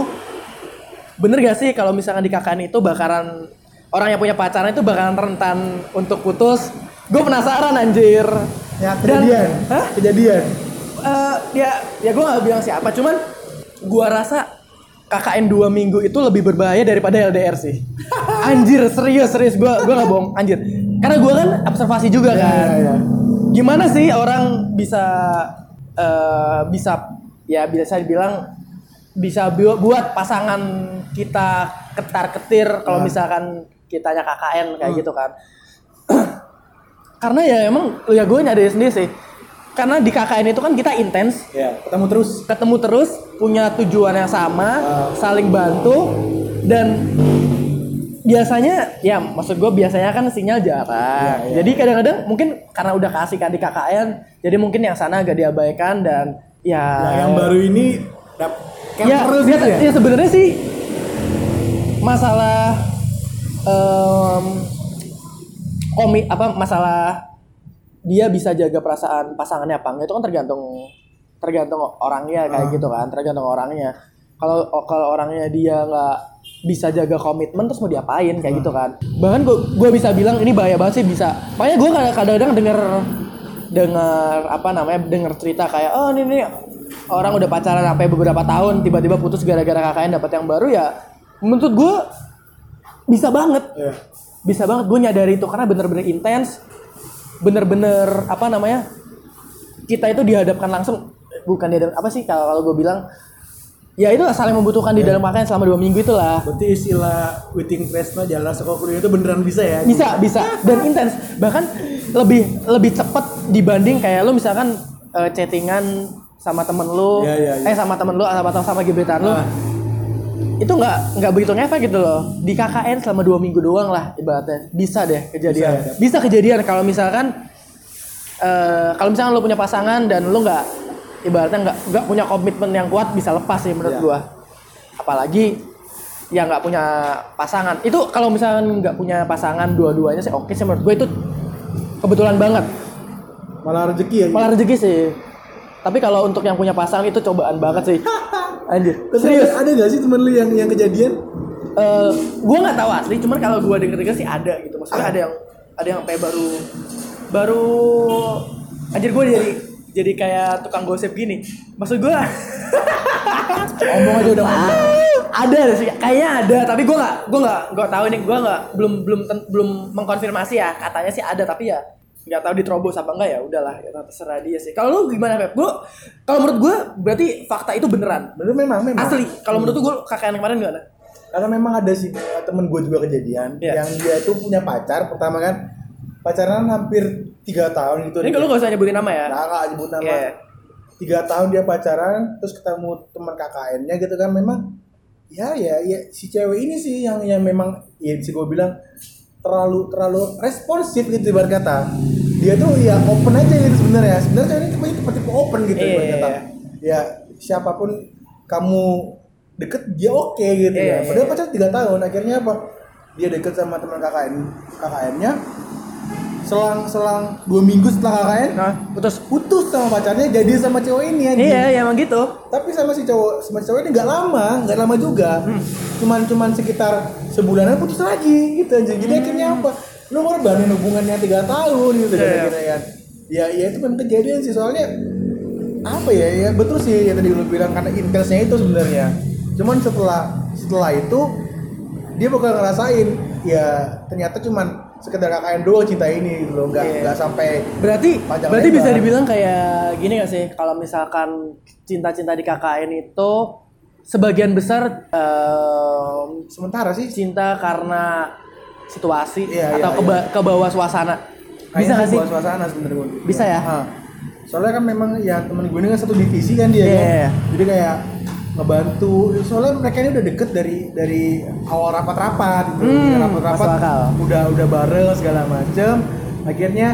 Speaker 1: bener gak sih kalau misalkan di KKN itu bakaran orang yang punya pacaran itu bakaran rentan untuk putus gue penasaran anjir
Speaker 2: ya kejadian
Speaker 1: Hah?
Speaker 2: kejadian
Speaker 1: Eh, ya ya gue gak bilang siapa cuman gue rasa KKN dua minggu itu lebih berbahaya daripada LDR sih anjir serius serius gue gue gak bohong anjir karena gue kan observasi juga
Speaker 2: Ya,
Speaker 1: kan
Speaker 2: ya, ya.
Speaker 1: gimana sih orang bisa eh, bisa ya bisa dibilang bisa bu- buat pasangan kita ketar ketir kalau
Speaker 2: Hmm.
Speaker 1: misalkan kitanya KKN kayak gitu kan karena ya emang ya gue nyadar sendiri sih karena di KKN itu kan kita intens
Speaker 2: ya ketemu terus
Speaker 1: ketemu terus punya tujuan yang sama
Speaker 2: Ah.
Speaker 1: saling bantu dan biasanya ya maksud gue biasanya kan sinyal jarang
Speaker 2: Iya, iya.
Speaker 1: jadi kadang-kadang mungkin karena udah kasih kan di KKN jadi mungkin yang sana agak diabaikan dan ya
Speaker 2: Nah, yang baru ini dap- kayak
Speaker 1: ya,
Speaker 2: terus
Speaker 1: ya,
Speaker 2: gitu ya
Speaker 1: ya sebenarnya sih masalah em, komi apa masalah dia bisa jaga perasaan pasangannya apa enggak itu kan tergantung tergantung orangnya kayak
Speaker 2: Ah.
Speaker 1: gitu kan tergantung orangnya kalau oh, kalau orangnya dia nggak bisa jaga komitmen terus mau diapain kayak gitu kan bahkan gua gua bisa bilang ini bahaya banget sih bisa makanya gua kadang- kadang-kadang denger dengar apa namanya denger cerita kayak oh ini nih orang udah pacaran sampai beberapa tahun tiba-tiba putus gara-gara kakaknya dapat yang baru ya menurut gua bisa banget
Speaker 2: Iya.
Speaker 1: bisa banget gue nyadari itu karena bener-bener intens bener-bener apa namanya kita itu dihadapkan langsung bukan dihadap apa sih kalau kalau gue bilang ya itu saling membutuhkan di dalam pakaian selama dua minggu itulah
Speaker 2: berarti istilah waiting Tresno jalan sekolah kuliah itu beneran bisa ya
Speaker 1: bisa bisa dan intens bahkan lebih lebih cepet dibanding kayak lo misalkan eh, chattingan sama temen lo
Speaker 2: Iya, iya, iya.
Speaker 1: eh sama temen lo sama sama gebetan lo
Speaker 2: Ah,
Speaker 1: itu nggak nggak begitu ngefek gitu loh di KKN selama dua minggu doang lah ibaratnya bisa deh kejadian
Speaker 2: Bisa
Speaker 1: bisa,
Speaker 2: ya.
Speaker 1: kejadian kalau misalkan eh kalau misalkan lo punya pasangan dan lo nggak ibaratnya nggak nggak punya komitmen yang kuat bisa lepas sih menurut
Speaker 2: Iya.
Speaker 1: gua apalagi yang nggak punya pasangan itu kalau misalkan nggak punya pasangan dua-duanya sih oke sih menurut gue itu kebetulan banget
Speaker 2: malah rezeki ya
Speaker 1: malah rezeki sih tapi kalau untuk yang punya pasangan itu cobaan banget sih anjir
Speaker 2: Tapi
Speaker 1: serius
Speaker 2: ada, ada gak sih temen lu yang yang kejadian
Speaker 1: eh gue nggak tahu asli, cuman kalau gue denger-denger sih ada gitu. Maksudnya ada yang ada yang sampai baru baru anjir gue jadi jadi kayak tukang gosip gini. Maksud gue
Speaker 2: ngomong aja udah ngomong
Speaker 1: ada sih, kayaknya ada. Tapi gue nggak gue nggak gue tahu ini gue nggak belum belum ten- belum mengkonfirmasi ya. Katanya sih ada tapi ya nggak tahu diterobos apa enggak ya udahlah ya terserah dia sih kalau lu gimana Pep? Gue kalau menurut gue berarti fakta itu beneran
Speaker 2: bener memang memang
Speaker 1: asli kalau menurut gue kakak yang kemarin gimana?
Speaker 2: karena memang ada si eh, temen gue juga kejadian
Speaker 1: Iya.
Speaker 2: yang dia itu punya pacar pertama kan pacaran hampir tiga tahun gitu
Speaker 1: Ini kalau gak usah nyebutin nama ya.
Speaker 2: kakak nyebut nama
Speaker 1: Iya.
Speaker 2: tiga tahun dia pacaran terus ketemu teman KKN-nya gitu kan memang ya ya ya si cewek ini sih yang yang memang ya si gue bilang terlalu terlalu responsif gitu ibarat kata dia tuh ya open aja gitu sebenarnya sebenarnya cewek ini tipe tipe, tipe open gitu
Speaker 1: Iya,
Speaker 2: ibarat
Speaker 1: iya,
Speaker 2: kata
Speaker 1: iya.
Speaker 2: ya siapapun kamu deket dia oke gitu
Speaker 1: Iya,
Speaker 2: ya
Speaker 1: iya,
Speaker 2: padahal
Speaker 1: iya.
Speaker 2: pacaran tiga tahun akhirnya apa dia deket sama teman KKN KKN-nya selang selang dua minggu setelah KKN
Speaker 1: Nah, putus.
Speaker 2: putus sama pacarnya jadi sama cewek ini anjing.
Speaker 1: Iya, ya emang gitu.
Speaker 2: Tapi sama si cowok sama si cowok ini nggak lama, nggak lama juga. Cuman cuman sekitar sebulanan putus lagi gitu anjing. Jadi akhirnya apa? Lu ngorbanin hubungannya tiga tahun gitu
Speaker 1: Iya,
Speaker 2: kan
Speaker 1: iya.
Speaker 2: akhirnya kan. Ya ya itu memang kejadian sih soalnya apa ya ya betul sih ya tadi lu bilang karena intensnya itu sebenarnya. Cuman setelah setelah itu dia bakal ngerasain ya ternyata cuman sekedar KKN doang cinta ini gitu loh nggak
Speaker 1: Iya.
Speaker 2: nggak sampai
Speaker 1: Berarti
Speaker 2: Panjang
Speaker 1: berarti
Speaker 2: lebar.
Speaker 1: bisa dibilang kayak gini gak sih kalau misalkan cinta-cinta di KKN itu sebagian besar em,
Speaker 2: sementara sih
Speaker 1: cinta karena situasi
Speaker 2: Iya,
Speaker 1: atau
Speaker 2: iya,
Speaker 1: keba ke bawah suasana. Bisa
Speaker 2: Kayaknya
Speaker 1: gak sih?
Speaker 2: buat suasana sebenarnya gue.
Speaker 1: Bisa ya?
Speaker 2: Ah. Soalnya kan memang ya temen gue ini kan satu divisi kan dia
Speaker 1: Iya,
Speaker 2: kan.
Speaker 1: iya, iya.
Speaker 2: Jadi kayak ngebantu. Soalnya mereka ini udah deket dari dari awal rapat-rapat gitu.
Speaker 1: Hmm,
Speaker 2: Udah rapat-rapat
Speaker 1: masuk akal.
Speaker 2: udah udah bareng segala macem. Akhirnya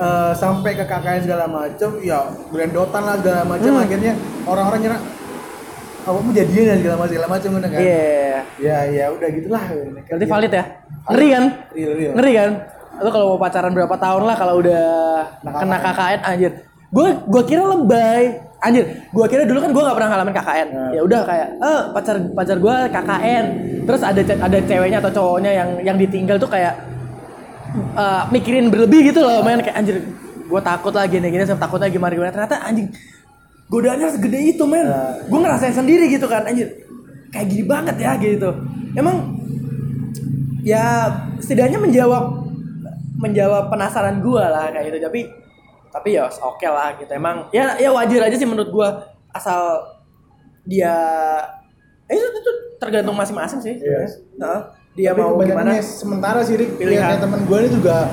Speaker 2: eh, sampai ke kakaknya segala macem, ya grandotan lah segala macem.
Speaker 1: Hmm.
Speaker 2: Akhirnya orang-orang nyerang apa mau jadian dan segala macam segala macam gitu kan.
Speaker 1: Iya.
Speaker 2: Ya ya udah gitulah.
Speaker 1: Berarti
Speaker 2: Iya.
Speaker 1: valid ya? Ngeri kan?
Speaker 2: Real real.
Speaker 1: Ngeri kan? Lu kalau mau pacaran berapa tahun lah kalau udah
Speaker 2: Nah,
Speaker 1: kena KKN anjir. Gue gua kira lebay. Anjir, gua kira dulu kan gua nggak pernah ngalamin KKN.
Speaker 2: Nah.
Speaker 1: Ya udah kayak eh pacar pacar gua KKN. Terus ada ce- ada ceweknya atau cowoknya yang yang ditinggal tuh kayak eh, mikirin berlebih gitu loh, main kayak anjir gua takut lah gini-gini saya takutnya gimana gimana ternyata anjing godaannya segede itu men
Speaker 2: Nah.
Speaker 1: gue ngerasain sendiri gitu kan anjir kayak gini banget ya gitu emang ya setidaknya menjawab menjawab penasaran gua lah kayak gitu tapi tapi ya oke lah gitu emang ya ya wajar aja sih menurut gua asal dia eh, itu, itu tergantung masing-masing sih
Speaker 2: Iya.
Speaker 1: Heeh. dia
Speaker 2: Tapi
Speaker 1: mau gimana
Speaker 2: kebanyakannya
Speaker 1: Iya.
Speaker 2: sementara sih Rik
Speaker 1: Pilihan.
Speaker 2: pilihannya teman gue ini juga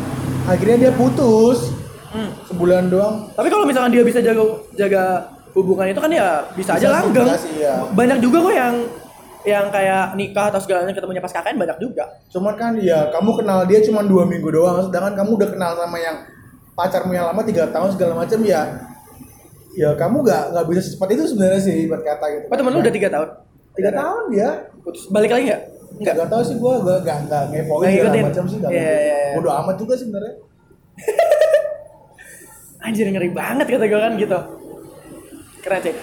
Speaker 2: akhirnya dia putus
Speaker 1: Hmm.
Speaker 2: sebulan doang
Speaker 1: tapi kalau misalkan dia bisa jaga jaga hubungan itu kan ya bisa,
Speaker 2: Bisa
Speaker 1: aja langgeng
Speaker 2: komunikasi, iya.
Speaker 1: banyak juga kok yang yang kayak nikah atau segalanya ketemunya pas KKN banyak juga
Speaker 2: cuman kan ya kamu kenal dia cuma dua minggu doang sedangkan kamu udah kenal sama yang pacarmu yang lama tiga tahun segala macam ya ya kamu nggak nggak bisa secepat itu sebenarnya sih buat kata gitu
Speaker 1: apa Oh, temen lu udah tiga tahun
Speaker 2: tiga tahun dia
Speaker 1: putus balik lagi nggak
Speaker 2: nggak nggak tahu sih gue nggak nggak nggak ngepoin
Speaker 1: Nggak
Speaker 2: segala
Speaker 1: ngikutin.
Speaker 2: macam sih nggak
Speaker 1: Iya,
Speaker 2: ngikutin.
Speaker 1: iya, iya.
Speaker 2: bodoh amat juga sebenarnya
Speaker 1: anjir ngeri banget kata gue kan gitu keren sih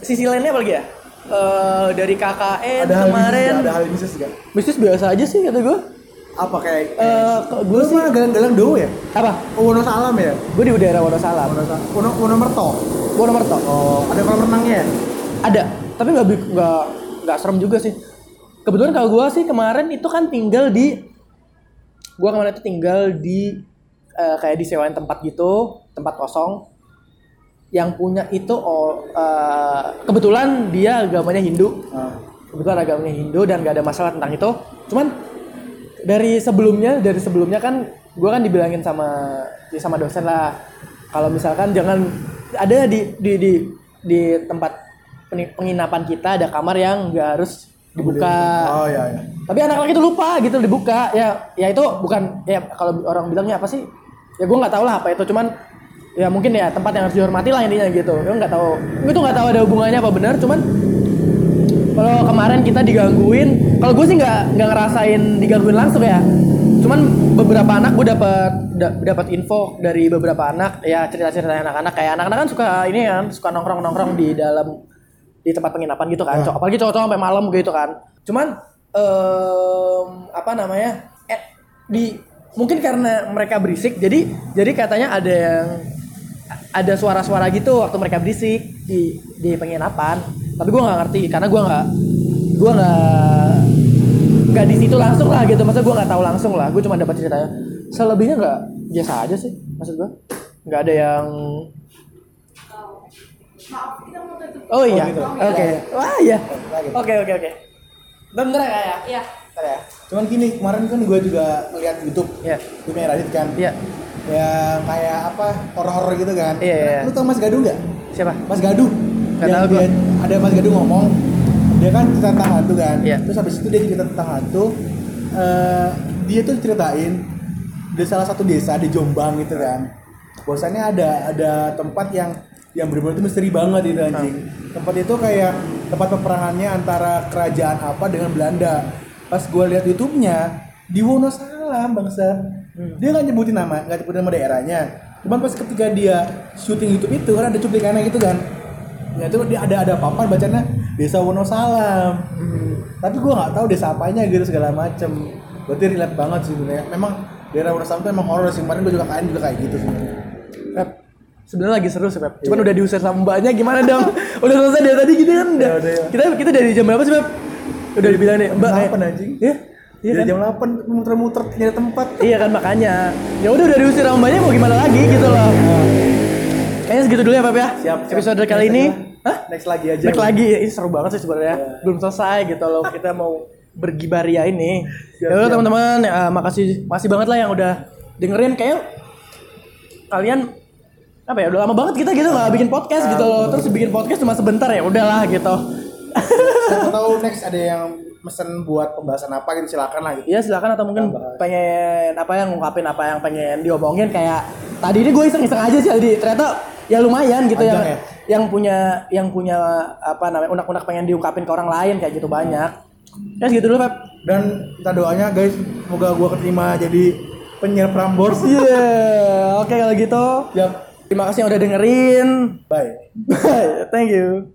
Speaker 1: sisi lainnya apa lagi ya Eh, dari KKN
Speaker 2: ada hal
Speaker 1: kemarin
Speaker 2: bisnis nggak? ada hal bisnis nggak
Speaker 1: bisnis biasa aja sih kata gue
Speaker 2: apa kayak
Speaker 1: Eh, kok gue
Speaker 2: lu
Speaker 1: sih
Speaker 2: mah galang-galang doang ya
Speaker 1: apa
Speaker 2: Oh, Wonosalam ya
Speaker 1: gue di daerah Wonosalam
Speaker 2: Wonosalam Wono Wonomerto
Speaker 1: Wonomerto
Speaker 2: Oh, ada kolam renangnya ya?
Speaker 1: ada tapi nggak bi- nggak nggak serem juga sih kebetulan kalau gue sih kemarin itu kan tinggal di gue kemarin itu tinggal di eh, kayak disewain tempat gitu tempat kosong yang punya itu oh, eh, kebetulan dia agamanya Hindu
Speaker 2: Ah,
Speaker 1: kebetulan agamanya Hindu dan gak ada masalah tentang itu. Cuman dari sebelumnya, dari sebelumnya kan gue kan dibilangin sama ya sama dosen lah, kalau misalkan jangan ada di di di, di tempat peni- penginapan kita ada kamar yang nggak harus dibuka.
Speaker 2: Oh iya iya.
Speaker 1: Tapi anak-anak itu lupa gitu dibuka. Ya ya itu bukan ya kalau orang bilangnya apa sih? Ya gue nggak tahu lah apa itu. Cuman ya mungkin ya tempat yang harus dihormati lah intinya gitu. Gue nggak tahu. Gue tuh nggak tahu ada hubungannya apa benar. Cuman kalau kemarin kita digangguin kalau gue sih nggak nggak ngerasain digangguin langsung ya cuman beberapa anak gue dapat da- dapat info dari beberapa anak ya cerita cerita anak-anak kayak anak-anak kan suka ini kan suka nongkrong nongkrong di dalam di tempat penginapan gitu kan Cowok- apalagi cowok-cowok sampai malam gitu kan cuman em, apa namanya eh, di mungkin karena mereka berisik jadi jadi katanya ada yang ada suara-suara gitu waktu mereka berisik di di penginapan tapi gue nggak ngerti karena gue nggak gue nggak nggak di situ langsung lah gitu masa gue nggak tahu langsung lah gue cuma dapat ceritanya selebihnya nggak biasa aja sih maksud gue nggak ada yang Oh iya, oke. Wah iya, oke oke oke. Bentar, bentar ya, Kak, ya.
Speaker 4: Iya.
Speaker 1: Bentar ya.
Speaker 2: Cuman gini, kemarin kan gue juga ngeliat YouTube.
Speaker 1: Iya.
Speaker 2: YouTube-nya Radit kan.
Speaker 1: Iya.
Speaker 2: Yang kayak apa, horor-horor gitu kan.
Speaker 1: Iya, iya, iya.
Speaker 2: Lu tau Mas Gaduh nggak?
Speaker 1: Siapa?
Speaker 2: Mas Gaduh.
Speaker 1: Nggak
Speaker 2: Yang
Speaker 1: tahu gua.
Speaker 2: dia- Ada Mas Gaduh ngomong. Dia kan cerita tentang hantu kan.
Speaker 1: Iya.
Speaker 2: Terus habis itu dia cerita tentang hantu. Eh, dia tuh ceritain di salah satu desa di Jombang gitu kan. Bahwasannya ada ada tempat yang yang benar-benar itu misteri banget itu anjing. Tempat itu kayak tempat peperangannya antara kerajaan apa dengan Belanda. Pas gue lihat YouTube-nya di Wonosalam bangsa. Dia nggak nyebutin nama, nggak nyebutin nama daerahnya. Cuman pas ketika dia syuting YouTube itu kan ada cuplikannya gitu kan. Ya itu dia ada ada papan bacanya Desa Wonosalam. Tapi gue nggak tahu desa apanya gitu segala macem. Berarti relate banget sih sebenarnya. Memang daerah Wonosalam tuh emang horor sih. Kemarin gue juga kain juga kayak gitu sebenarnya.
Speaker 1: Pep, sebenarnya lagi seru sih Pep. Cuman
Speaker 2: Iya.
Speaker 1: udah diusir sama mbaknya gimana dong? udah selesai dari tadi gitu kan udah.
Speaker 2: Ya udah, ya.
Speaker 1: Kita kita dari jam berapa sih Pep? Udah dibilang nih,
Speaker 2: eh,
Speaker 1: Mbak. kayak-
Speaker 2: Delapan, anjing.
Speaker 1: Iya. Iya
Speaker 2: Dari
Speaker 1: kan?
Speaker 2: jam 8 muter-muter nyari tempat.
Speaker 1: Iya kan makanya. Ya udah udah diusir sama mbaknya mau gimana lagi gitu loh.
Speaker 2: Iya.
Speaker 1: Kayaknya segitu dulu ya Pep ya. Episode kali
Speaker 2: Next
Speaker 1: ini.
Speaker 2: lagi lah.
Speaker 1: Hah?
Speaker 2: Next lagi aja.
Speaker 1: Back lagi ini seru banget sih sebenarnya.
Speaker 2: Iya.
Speaker 1: Belum selesai gitu loh. Kita mau bergibaria ini.
Speaker 2: Siap,
Speaker 1: Ya udah
Speaker 2: siap.
Speaker 1: teman-teman, ya, makasih makasih banget lah yang udah dengerin kayak kalian apa ya udah lama banget kita gitu nggak bikin podcast gitu loh terus bikin podcast cuma sebentar ya udahlah gitu
Speaker 2: Siapa tahu next ada yang mesen buat pembahasan apa gitu silakan lah gitu.
Speaker 1: ya silakan atau mungkin
Speaker 2: Tambah.
Speaker 1: pengen apa yang ngungkapin apa yang pengen diomongin kayak tadi ini gue iseng-iseng aja sih Aldi ternyata ya lumayan gitu
Speaker 2: Panjang
Speaker 1: yang
Speaker 2: ya?
Speaker 1: yang punya yang punya apa namanya unak-unak pengen diungkapin ke orang lain kayak gitu banyak ya segitu dulu Pep
Speaker 2: Dan kita doanya guys, semoga gua keterima jadi penyiar Prambors.
Speaker 1: Iya, oke kalau gitu.
Speaker 2: Siap.
Speaker 1: Terima kasih yang udah dengerin.
Speaker 2: Bye.
Speaker 1: Bye. Thank you.